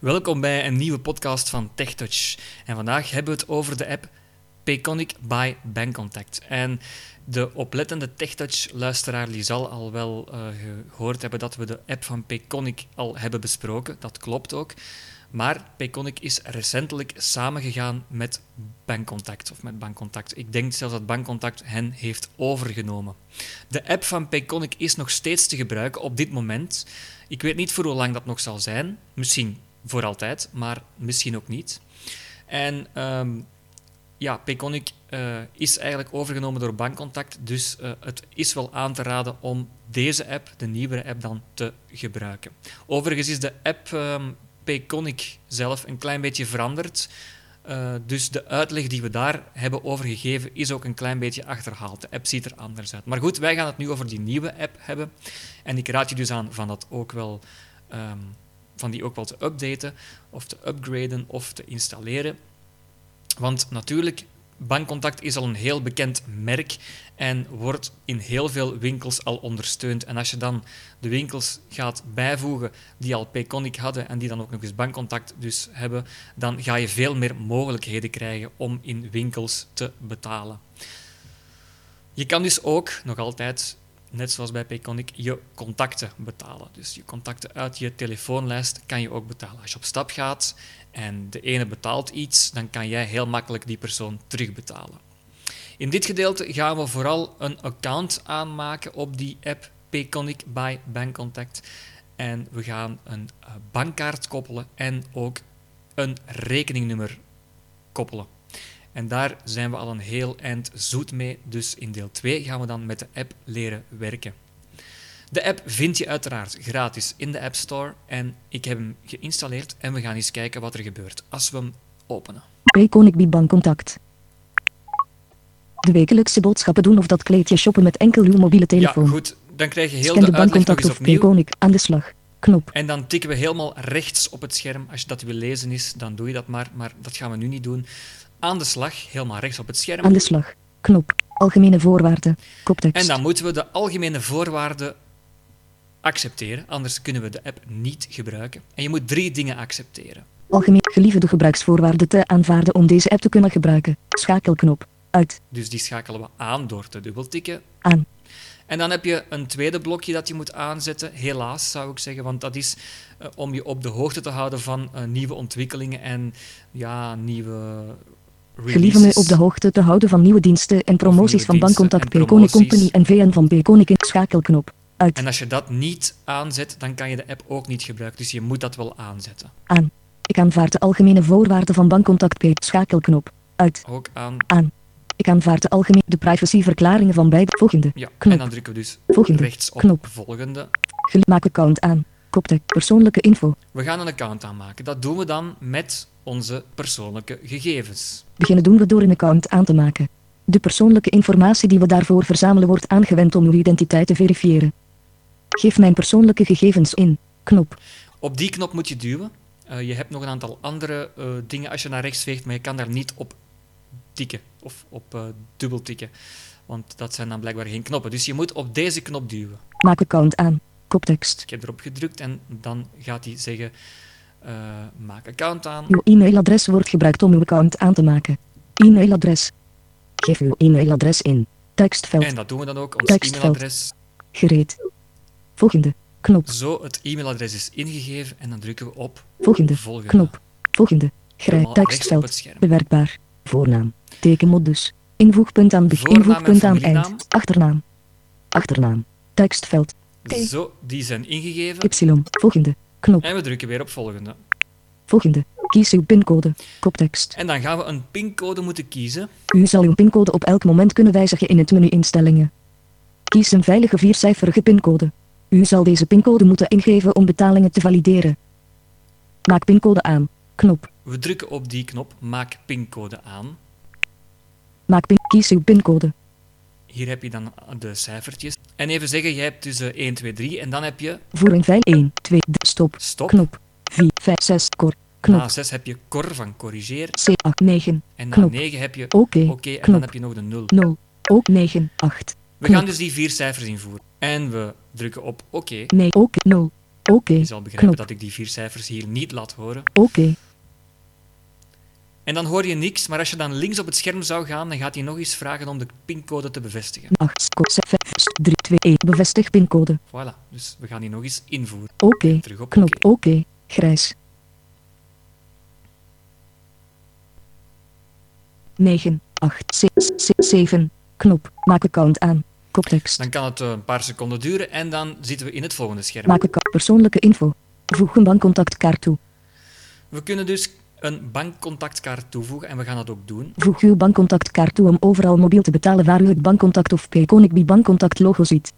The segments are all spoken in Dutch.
Welkom bij een nieuwe podcast van TechTouch. En vandaag hebben we het over de app Payconic by Bankcontact. En de oplettende TechTouch-luisteraar die zal al wel eh, gehoord hebben dat we de app van Payconic al hebben besproken. Dat klopt ook. Maar Payconic is recentelijk samengegaan met Bankcontact. Of met Bankcontact. Ik denk zelfs dat Bankcontact hen heeft overgenomen. De app van Payconic is nog steeds te gebruiken op dit moment. Ik weet niet voor hoe lang dat nog zal zijn. Misschien voor altijd, maar misschien ook niet. En ehm, ja, Payconic eh, is eigenlijk overgenomen door Bankcontact. Dus eh, het is wel aan te raden om deze app, de nieuwere app, dan te gebruiken. Overigens is de app ehm Payconic zelf een klein beetje veranderd. Eh, dus de uitleg die we daar hebben over gegeven is ook een klein beetje achterhaald. De app ziet er anders uit. Maar goed, wij gaan het nu over die nieuwe app hebben. En ik raad je dus aan van, dat ook wel, ehm, van die ook wel te updaten, of te upgraden, of te installeren. Want natuurlijk, Bankcontact is al een heel bekend merk en wordt in heel veel winkels al ondersteund. En als je dan de winkels gaat bijvoegen die al Payconic hadden en die dan ook nog eens Bankcontact dus hebben, dan ga je veel meer mogelijkheden krijgen om in winkels te betalen. Je kan dus ook nog altijd, net zoals bij Payconic, je contacten betalen. Dus je contacten uit je telefoonlijst kan je ook betalen. Als je op stap gaat en de ene betaalt iets, dan kan jij heel makkelijk die persoon terugbetalen. In dit gedeelte gaan we vooral een account aanmaken op die app Payconic by Bankcontact. En we gaan een eh, bankkaart koppelen en ook een rekeningnummer koppelen. En daar zijn we al een heel eind zoet mee. Dus in deel 2 gaan we dan met de app leren werken. De app vind je uiteraard gratis in de App Store. En ik heb hem geïnstalleerd en we gaan eens kijken wat er gebeurt als we hem openen. Payconic Bibank Contact. De wekelijkse boodschappen doen of dat kleedje shoppen met enkel uw mobiele telefoon. Ja, goed. Dan krijg je heel Scan de de uitleg nog bankcontact eens of opnieuw. Payconic aan de slag. Knop. En dan tikken we helemaal rechts op het scherm. Als je dat wil lezen is, dan doe je dat maar. Maar dat gaan we nu niet doen. Aan de slag, helemaal rechts op het scherm. Aan de slag. Knop. Algemene voorwaarden. En Koptekst. dan moeten we de algemene voorwaarden accepteren, anders kunnen we de app niet gebruiken. En je moet drie dingen accepteren. Algemeen geliefde gebruiksvoorwaarden te aanvaarden om deze app te kunnen gebruiken. Schakelknop. Uit. Dus die schakelen we aan door te dubbeltikken. Aan. En dan heb je een tweede blokje dat je moet aanzetten, helaas zou ik zeggen, want dat is eh, om je op de hoogte te houden van eh, nieuwe ontwikkelingen en ja, nieuwe Gelieve me releases. op de hoogte te houden van nieuwe diensten en promoties nieuwe van diensten Bankcontact en Payconic promoties. Company en VN van Payconic in schakelknop. Uit. En als je dat niet aanzet, dan kan je de app ook niet gebruiken, dus je moet dat wel aanzetten. Aan. Ik aanvaard de algemene voorwaarden van Bankcontact Pay. Schakelknop. Uit. Ook aan, Aan. Ik aanvaard de algemene de privacyverklaringen van beide volgende. ja. Knop. En dan drukken we dus Volgende. rechts op Knop. volgende. Gel- Maak account aan. Koptek. Persoonlijke info. We gaan een account aanmaken. Dat doen we dan met onze persoonlijke gegevens. Beginnen doen we door een account aan te maken. De persoonlijke informatie die we daarvoor verzamelen wordt aangewend om uw identiteit te verifiëren. Geef mijn persoonlijke gegevens in. Knop. Op die knop moet je duwen. Eh, je hebt nog een aantal andere eh, dingen als je naar rechts veegt, maar je kan daar niet op tikken of op eh dubbel tikken. Want dat zijn dan blijkbaar geen knoppen. Dus je moet op deze knop duwen. Maak account aan. Koptekst. Ik heb erop gedrukt en dan gaat hij zeggen: eh, maak account aan. Uw e-mailadres wordt gebruikt om uw account aan te maken. E-mailadres. Geef uw e-mailadres in. Tekstveld. En dat doen we dan ook. Ons Tekstveld. e-mailadres. Gereed. Volgende. Knop. Zo, het e-mailadres is ingegeven en dan drukken we op Volgende. volgende. Knop. Volgende. Grijp Helemaal rechts op tekstveld. het scherm. Bewerkbaar. Voornaam. Tekenmodus. Invoegpunt aan begin. Voornaam en Invoegpunt aan familienaam. eind. Achternaam. Achternaam. Tekstveld. Oké. Zo, die zijn ingegeven. Y. Volgende. Knop. En we drukken weer op volgende. Volgende. Kies uw pincode. Koptekst. En dan gaan we een pincode moeten kiezen. U zal uw pincode op elk moment kunnen wijzigen in het menu instellingen. Kies een veilige viercijferige pincode. U zal deze pincode moeten ingeven om betalingen te valideren. Maak pincode aan. Knop. We drukken op die knop Maak pincode aan. Maak pin. Kies uw pincode. Hier heb je dan de cijfertjes. En even zeggen, jij hebt tussen 1, 2, 3 en dan heb je Voor een vijf 1, 2, stop. stop. Knop. 4, 5, 6, kor. Knop. Na 6 heb je cor van corrigeer. C, 8, 9. En na Knop. 9 heb je oké Oké. en dan knop. heb je nog de 0. 0. Ook 9, 8. We knop. gaan dus die vier cijfers invoeren. En we drukken op oké. Nee, ook 0. Oké. Je zal begrijpen Knop. dat ik die vier cijfers hier niet laat horen. Oké. En dan hoor je niks, maar als je dan links op het scherm zou gaan, dan gaat hij nog eens vragen om de pincode te bevestigen. 8, 7, 3, 2, 1. Bevestig pincode. Voilà, dus we gaan die nog eens invoeren. Oké. Terug op Knop. oké. Oké. Grijs. 9, 8, 6, 7. Knop. Maak account aan. Koptekst. Dan kan het eh, een paar seconden duren en dan zitten we in het volgende scherm. Maak account. Persoonlijke info. Voeg een bankcontactkaart toe. We kunnen dus een bankcontactkaart toevoegen en we gaan dat ook doen. Voeg uw bankcontactkaart toe om overal mobiel te betalen waar u het bankcontact of Payconic Bi bankcontact logo ziet.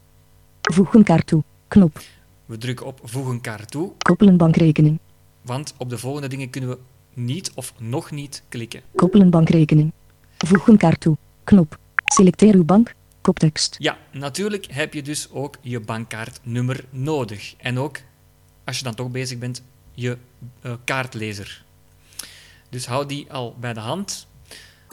Voeg een kaart toe. Knop. We drukken op voeg een kaart toe, Koppelen bankrekening. want op de volgende dingen kunnen we niet of nog niet klikken. Koppelen bankrekening. Voeg een kaart toe. Knop. Selecteer uw bank. Koptekst. Ja, natuurlijk heb je dus ook je bankkaartnummer nodig. En ook, als je dan toch bezig bent, je eh, kaartlezer. Dus hou die al bij de hand.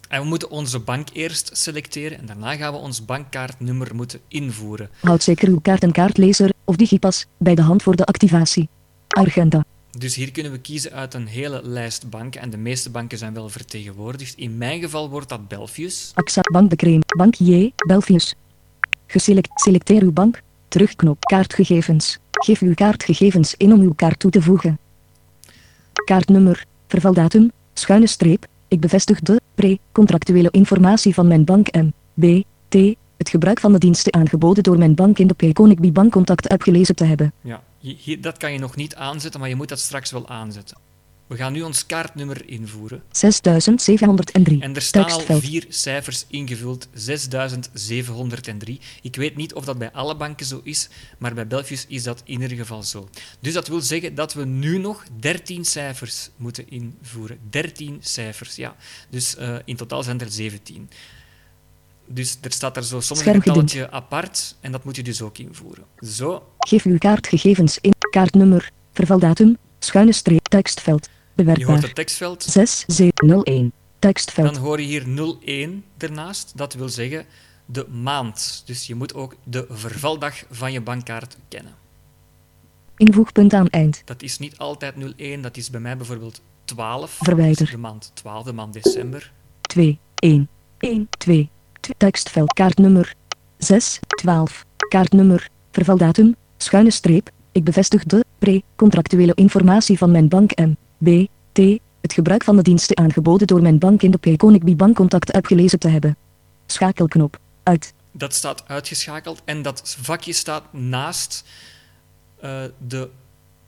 En we moeten onze bank eerst selecteren en daarna gaan we ons bankkaartnummer moeten invoeren. Houd zeker uw kaart en kaartlezer of digipas bij de hand voor de activatie. Agenda. Dus hier kunnen we kiezen uit een hele lijst banken en de meeste banken zijn wel vertegenwoordigd. In mijn geval wordt dat Belfius. AXA. Bank de Crème. Bank J. Belfius. Geselect. Selecteer uw bank. Terugknop. Kaartgegevens. Geef uw kaartgegevens in om uw kaart toe te voegen. Kaartnummer. Vervaldatum. Schuine streep. Ik bevestig de pre-contractuele informatie van mijn bank M. B. T. Het gebruik van de diensten aangeboden door mijn bank in de Payconic Bi bankcontact app gelezen te hebben. Ja, hi- hier, dat kan je nog niet aanzetten, maar je moet dat straks wel aanzetten. We gaan nu ons kaartnummer invoeren. 6703. En er staan al Tekstveld. vier cijfers ingevuld, 6703. Ik weet niet of dat bij alle banken zo is, maar bij Belfius is dat in ieder geval zo. Dus dat wil zeggen dat we nu nog 13 cijfers moeten invoeren. 13 cijfers, ja. Dus eh, in totaal zijn er 17. Dus er staat er zo soms een Scherm gedoemd. getalletje apart en dat moet je dus ook invoeren. Zo, Geef uw kaartgegevens in. Kaartnummer. Vervaldatum. Schuine streep. Tekstveld. je hoort het Bewerkbaar. tekstveld. 6701. Tekstveld. Dan hoor je hier 01 ernaast. Dat wil zeggen de maand. Dus je moet ook de vervaldag van je bankkaart kennen. Invoegpunt aan eind. Dat is niet altijd 01, dat is bij mij bijvoorbeeld 12. Verwijder. Dat is De maand 12, de maand december. 2, 1, 1, 2. T- Tekstveld. Kaartnummer. 6, 12. Kaartnummer. Vervaldatum. Schuine streep. Ik bevestig de pre-contractuele informatie van mijn bank M. B. T. Het gebruik van de diensten aangeboden door mijn bank in de Payconic Bi bankcontact app gelezen te hebben. Schakelknop. Uit. Dat staat uitgeschakeld en dat vakje staat naast eh, de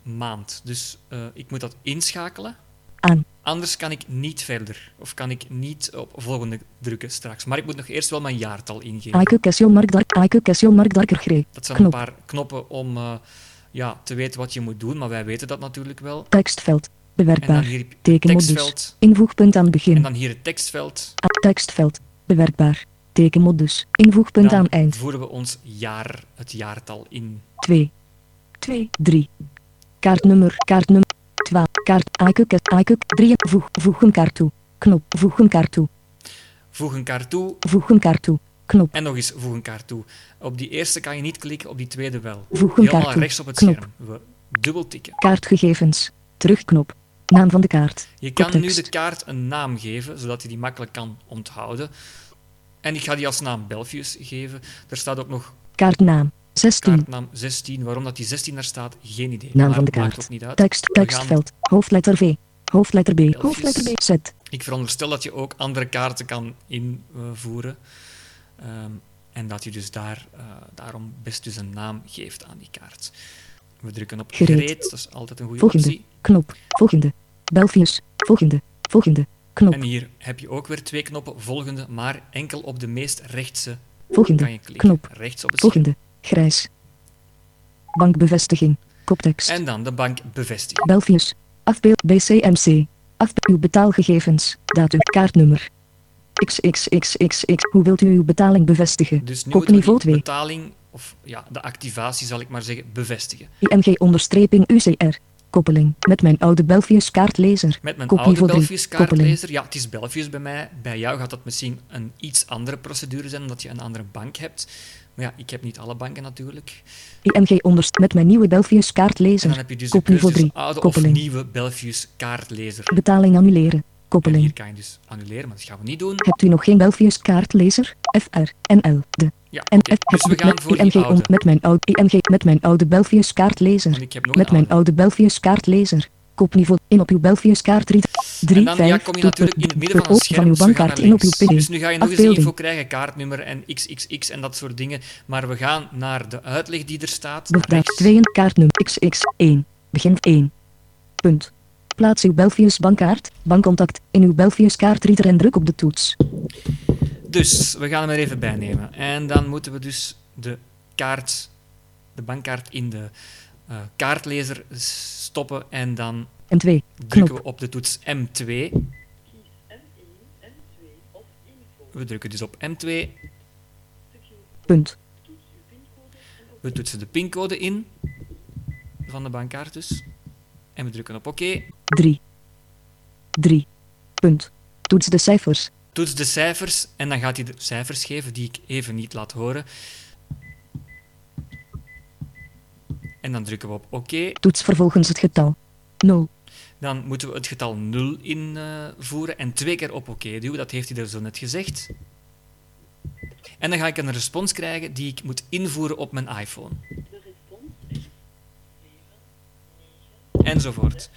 maand. Dus eh, ik moet dat inschakelen. Aan. Anders kan ik niet verder. Of kan ik niet op volgende drukken straks. Maar ik moet nog eerst wel mijn jaartal ingeven. Aiku Kessel Mark Dark. Aiku Kessel Mark Darker Grey. Dat zijn Knop. een paar knoppen om eh, ja, te weten wat je moet doen, maar wij weten dat natuurlijk wel. Tekstveld. En dan Bewerkbaar. hier Tekenmodus. tekstveld. Invoegpunt aan begin. En dan hier het tekstveld. A- Tekstveld. Bewerkbaar. Tekenmodus. Invoegpunt Dan aan eind. voeren we ons jaar, het jaartal in. 2. 2. 3. Kaartnummer. Kaartnummer. 12. Kaart. Aikuk. Aikuk. 3. Voeg. Voeg een kaart toe. Knop. Voeg een kaart toe. Voeg een kaart toe. Voeg een kaart toe. Knop. En nog eens voeg een kaart toe. Op die eerste kan je niet klikken, op die tweede wel. Voeg een kaart Helemaal toe. rechts op het Knop. scherm. We dubbel tikken. Kaartgegevens. Terugknop. Naam van de kaart. Je kan nu Koptekst. de kaart een naam geven, zodat je die makkelijk kan onthouden. En ik ga die als naam Belfius geven. Er staat ook nog Kaartnaam. 16. kaartnaam 16. Waarom dat die 16 daar staat, geen idee. Naam Maar van de maakt kaart. ook niet uit. Tekst. We gaan- Tekstveld. Hoofdletter V. Hoofdletter B. Belgisch. Hoofdletter B. Z. Ik veronderstel dat je ook andere kaarten kan invoeren. Ehm, en dat je dus daar, eh, daarom best dus een naam geeft aan die kaart. We drukken op Gereed. gereed, dat is altijd een goede Volgende. optie. Knop. Volgende. Belfius. Volgende. Volgende. En Knop. hier heb je ook weer twee knoppen, volgende, maar enkel op de meest rechtse kan Volgende. je klikken. Knop. Rechts op het scherm. Volgende. Grijs. Bankbevestiging. Koptekst. En dan de bank bevestigen. Belfius. Afbeeld BCMC. Afbeeld uw betaalgegevens. Datum. Kaartnummer. XXXXX. Hoe wilt u uw betaling bevestigen? Dus nu moeten we Kopniveau die 2. betaling, of ja, de activatie zal ik maar zeggen, bevestigen. ING-UCR. Koppeling met mijn oude Belfius kaartlezer. Met mijn Kopniveau oude 3. Belfius kaartlezer. Ja, het is Belfius bij mij. Bij jou gaat dat misschien een iets andere procedure zijn, omdat je een andere bank hebt. Maar ja, ik heb niet alle banken natuurlijk. ING onderst met mijn nieuwe Belfius En dan kaartlezer. heb je dus de Kopniveau keuze 3. tussen oude Koppeling. of nieuwe Belfius kaartlezer. Betaling annuleren. En Koppeling. hier kan je dus annuleren, maar dat gaan we niet doen. Hebt u nog geen Belfius kaartlezer? FR, NL, de Ja, NF. oké. dus we Heb- gaan met voor ING die on- oude. met mijn oude ING met mijn oude Belfius En kaartlezer. ik heb nog Met een mijn oude. oude Belfius kaartlezer. Koopniveau in op uw Belfius kaart 3 En 3 dan ja, kom je natuurlijk in het midden van het scherm, uw dus we gaan bankkaart naar in op uw links. PD. Dus nu ga je nog eens Afbeelding. info krijgen, kaartnummer en xxx en dat soort dingen. Maar we gaan naar de uitleg die er staat. Borddaad rechts. 2 kaartnummer XX1. Begin 1. Punt. Plaats uw Belfius bankkaart, bankcontact, in uw Belfius kaartreader en druk op de toets. Dus we gaan hem er even bij nemen. En dan moeten we dus de kaart, de bankkaart in de eh, kaartlezer stoppen. En dan En 2. drukken Knop. we op de toets M2. We drukken dus op M2. Punt. We toetsen de pincode in van de bankkaart dus. En we drukken op oké. 3. 3. Punt. Toets de cijfers. Toets de cijfers en dan gaat hij de cijfers geven die ik even niet laat horen. En dan drukken we op oké. Toets vervolgens het getal. 0. Dan moeten we het getal 0 invoeren en twee keer op oké duwen. Dat heeft hij er zo net gezegd. En dan ga ik een respons krijgen die ik moet invoeren op mijn iPhone. Enzovoort.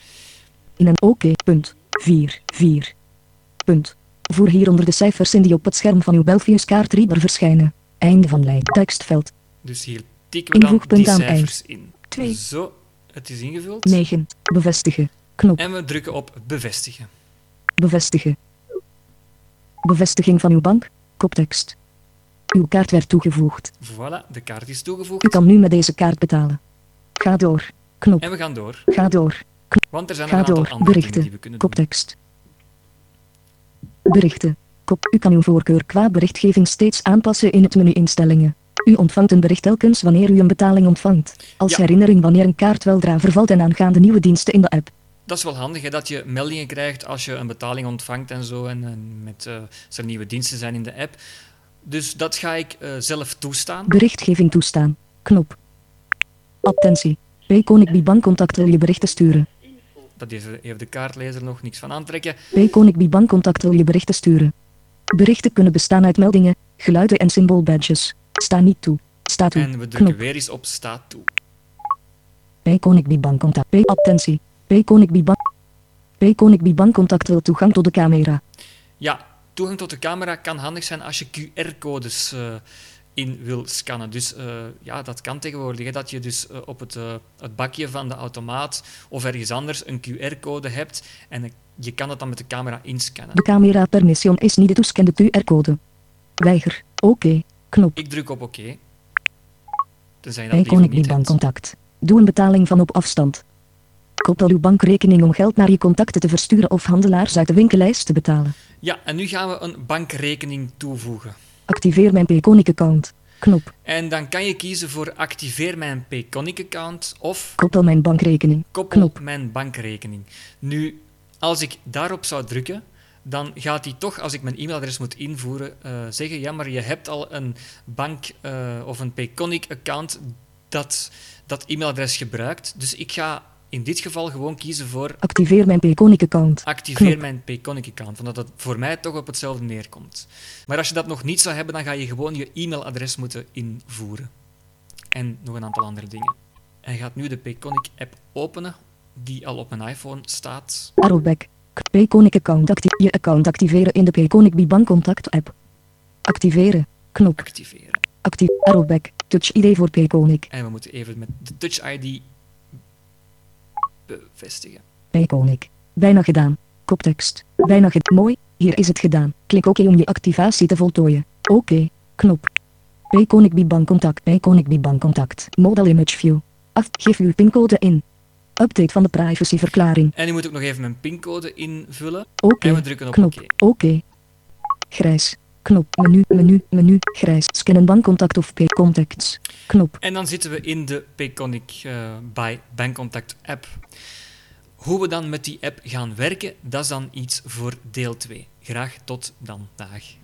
In een oké. Punt. 4. 4. Punt. Voer hieronder de cijfers in die op het scherm van uw Belfius kaartreader verschijnen. Einde van lijn. Tekstveld. Dus hier tikken we dan Invoegpunt die aan eind. cijfers in. 2. Zo, het is ingevuld. 9. Bevestigen. Knop. En we drukken op bevestigen. Bevestigen. Bevestiging van uw bank. Koptekst. Uw kaart werd toegevoegd. Voilà, de kaart is U toegevoegd. kan nu met deze kaart betalen. Ga door. Knop. En we gaan door, Ga door. want er zijn nog Ga een aantal door. andere dingen die Berichten. we kunnen doen. Koptekst. Berichten. Kop. U kan uw voorkeur qua berichtgeving steeds aanpassen in het menu instellingen. U ontvangt een bericht telkens wanneer u een betaling ontvangt. Als Ja. herinnering wanneer een kaart weldra vervalt en aangaande nieuwe diensten in de app. Dat is wel handig, hè, dat je meldingen krijgt als je een betaling ontvangt en zo. En, en met, eh, als er nieuwe diensten zijn in de app. Dus dat ga ik eh, zelf toestaan. Berichtgeving toestaan. Knop. Attentie. Payconic Bibank contact wil je berichten sturen. Dat heeft, heeft de kaartlezer nog niks van aantrekken. Payconic Bibank contact wil je berichten sturen. Berichten kunnen bestaan uit meldingen, geluiden en symboolbadges. Sta niet toe. Sta toe. En we drukken Knop. weer eens op staat toe. Payconic Bibank contact. Pay attentie. Payconic Bibank. Payconic Bibank contact wil toegang tot de camera. Ja, toegang tot de camera kan handig zijn als je QR-codes eh, in wil scannen. Dus eh, ja, dat kan tegenwoordig. Hè, dat je dus eh, op het, eh, het bakje van de automaat of ergens anders een QR-code hebt. En eh, je kan dat dan met de camera inscannen. De camera permission is niet de toescande QR-code. Weiger. Oké. Knop. Ik druk op oké. Tenzij je dat liever Payconic niet Bibank hebt. contact. Doe een betaling van op afstand. Koppel uw bankrekening om geld naar je contacten te versturen of handelaars uit de winkellijst te betalen. Ja, en nu gaan we een bankrekening toevoegen. Activeer mijn Payconic account. Knop. En dan kan je kiezen voor activeer mijn Payconic-account of Koppel mijn bankrekening. koppel Knop. mijn bankrekening. Nu, als ik daarop zou drukken, dan gaat hij toch, als ik mijn e-mailadres moet invoeren, eh, zeggen: Ja, maar je hebt al een bank- eh, of een Payconic-account dat dat e-mailadres gebruikt. Dus ik ga in dit geval gewoon kiezen voor Activeer mijn Payconic account. activeer Knop. mijn Payconic-account, omdat dat voor mij toch op hetzelfde neerkomt. Maar als je dat nog niet zou hebben, dan ga je gewoon je e-mailadres moeten invoeren. En nog een aantal andere dingen. Hij gaat nu de Payconic-app openen, die al op mijn iPhone staat. Arrowback. Payconic account. acti- je account activeren in de Payconic Bibank contact app. Activeren. Knop. Activeren. Actief. Arrowback. Touch ID voor Payconic. En we moeten even met de Touch ID bevestigen. Payconic. Bijna gedaan. Koptekst. Bijna gedaan. Mooi. Hier is het gedaan. Klik oké om je activatie te voltooien. Oké. Knop. Payconic Bibank contact. Payconic Bibank contact. Model image view. Af. Geef uw pincode in. Update van de privacyverklaring. En nu moet ik nog even mijn pincode invullen. Oké. En we drukken op Knop. oké. Oké. Grijs. Knop. Menu. Menu. Menu. Grijs. Scannen bankcontact of paycontacts. Knop. En dan zitten we in de Payconic eh, by Bankcontact app. Hoe we dan met die app gaan werken, dat is dan iets voor deel 2. Graag tot dan. Dag.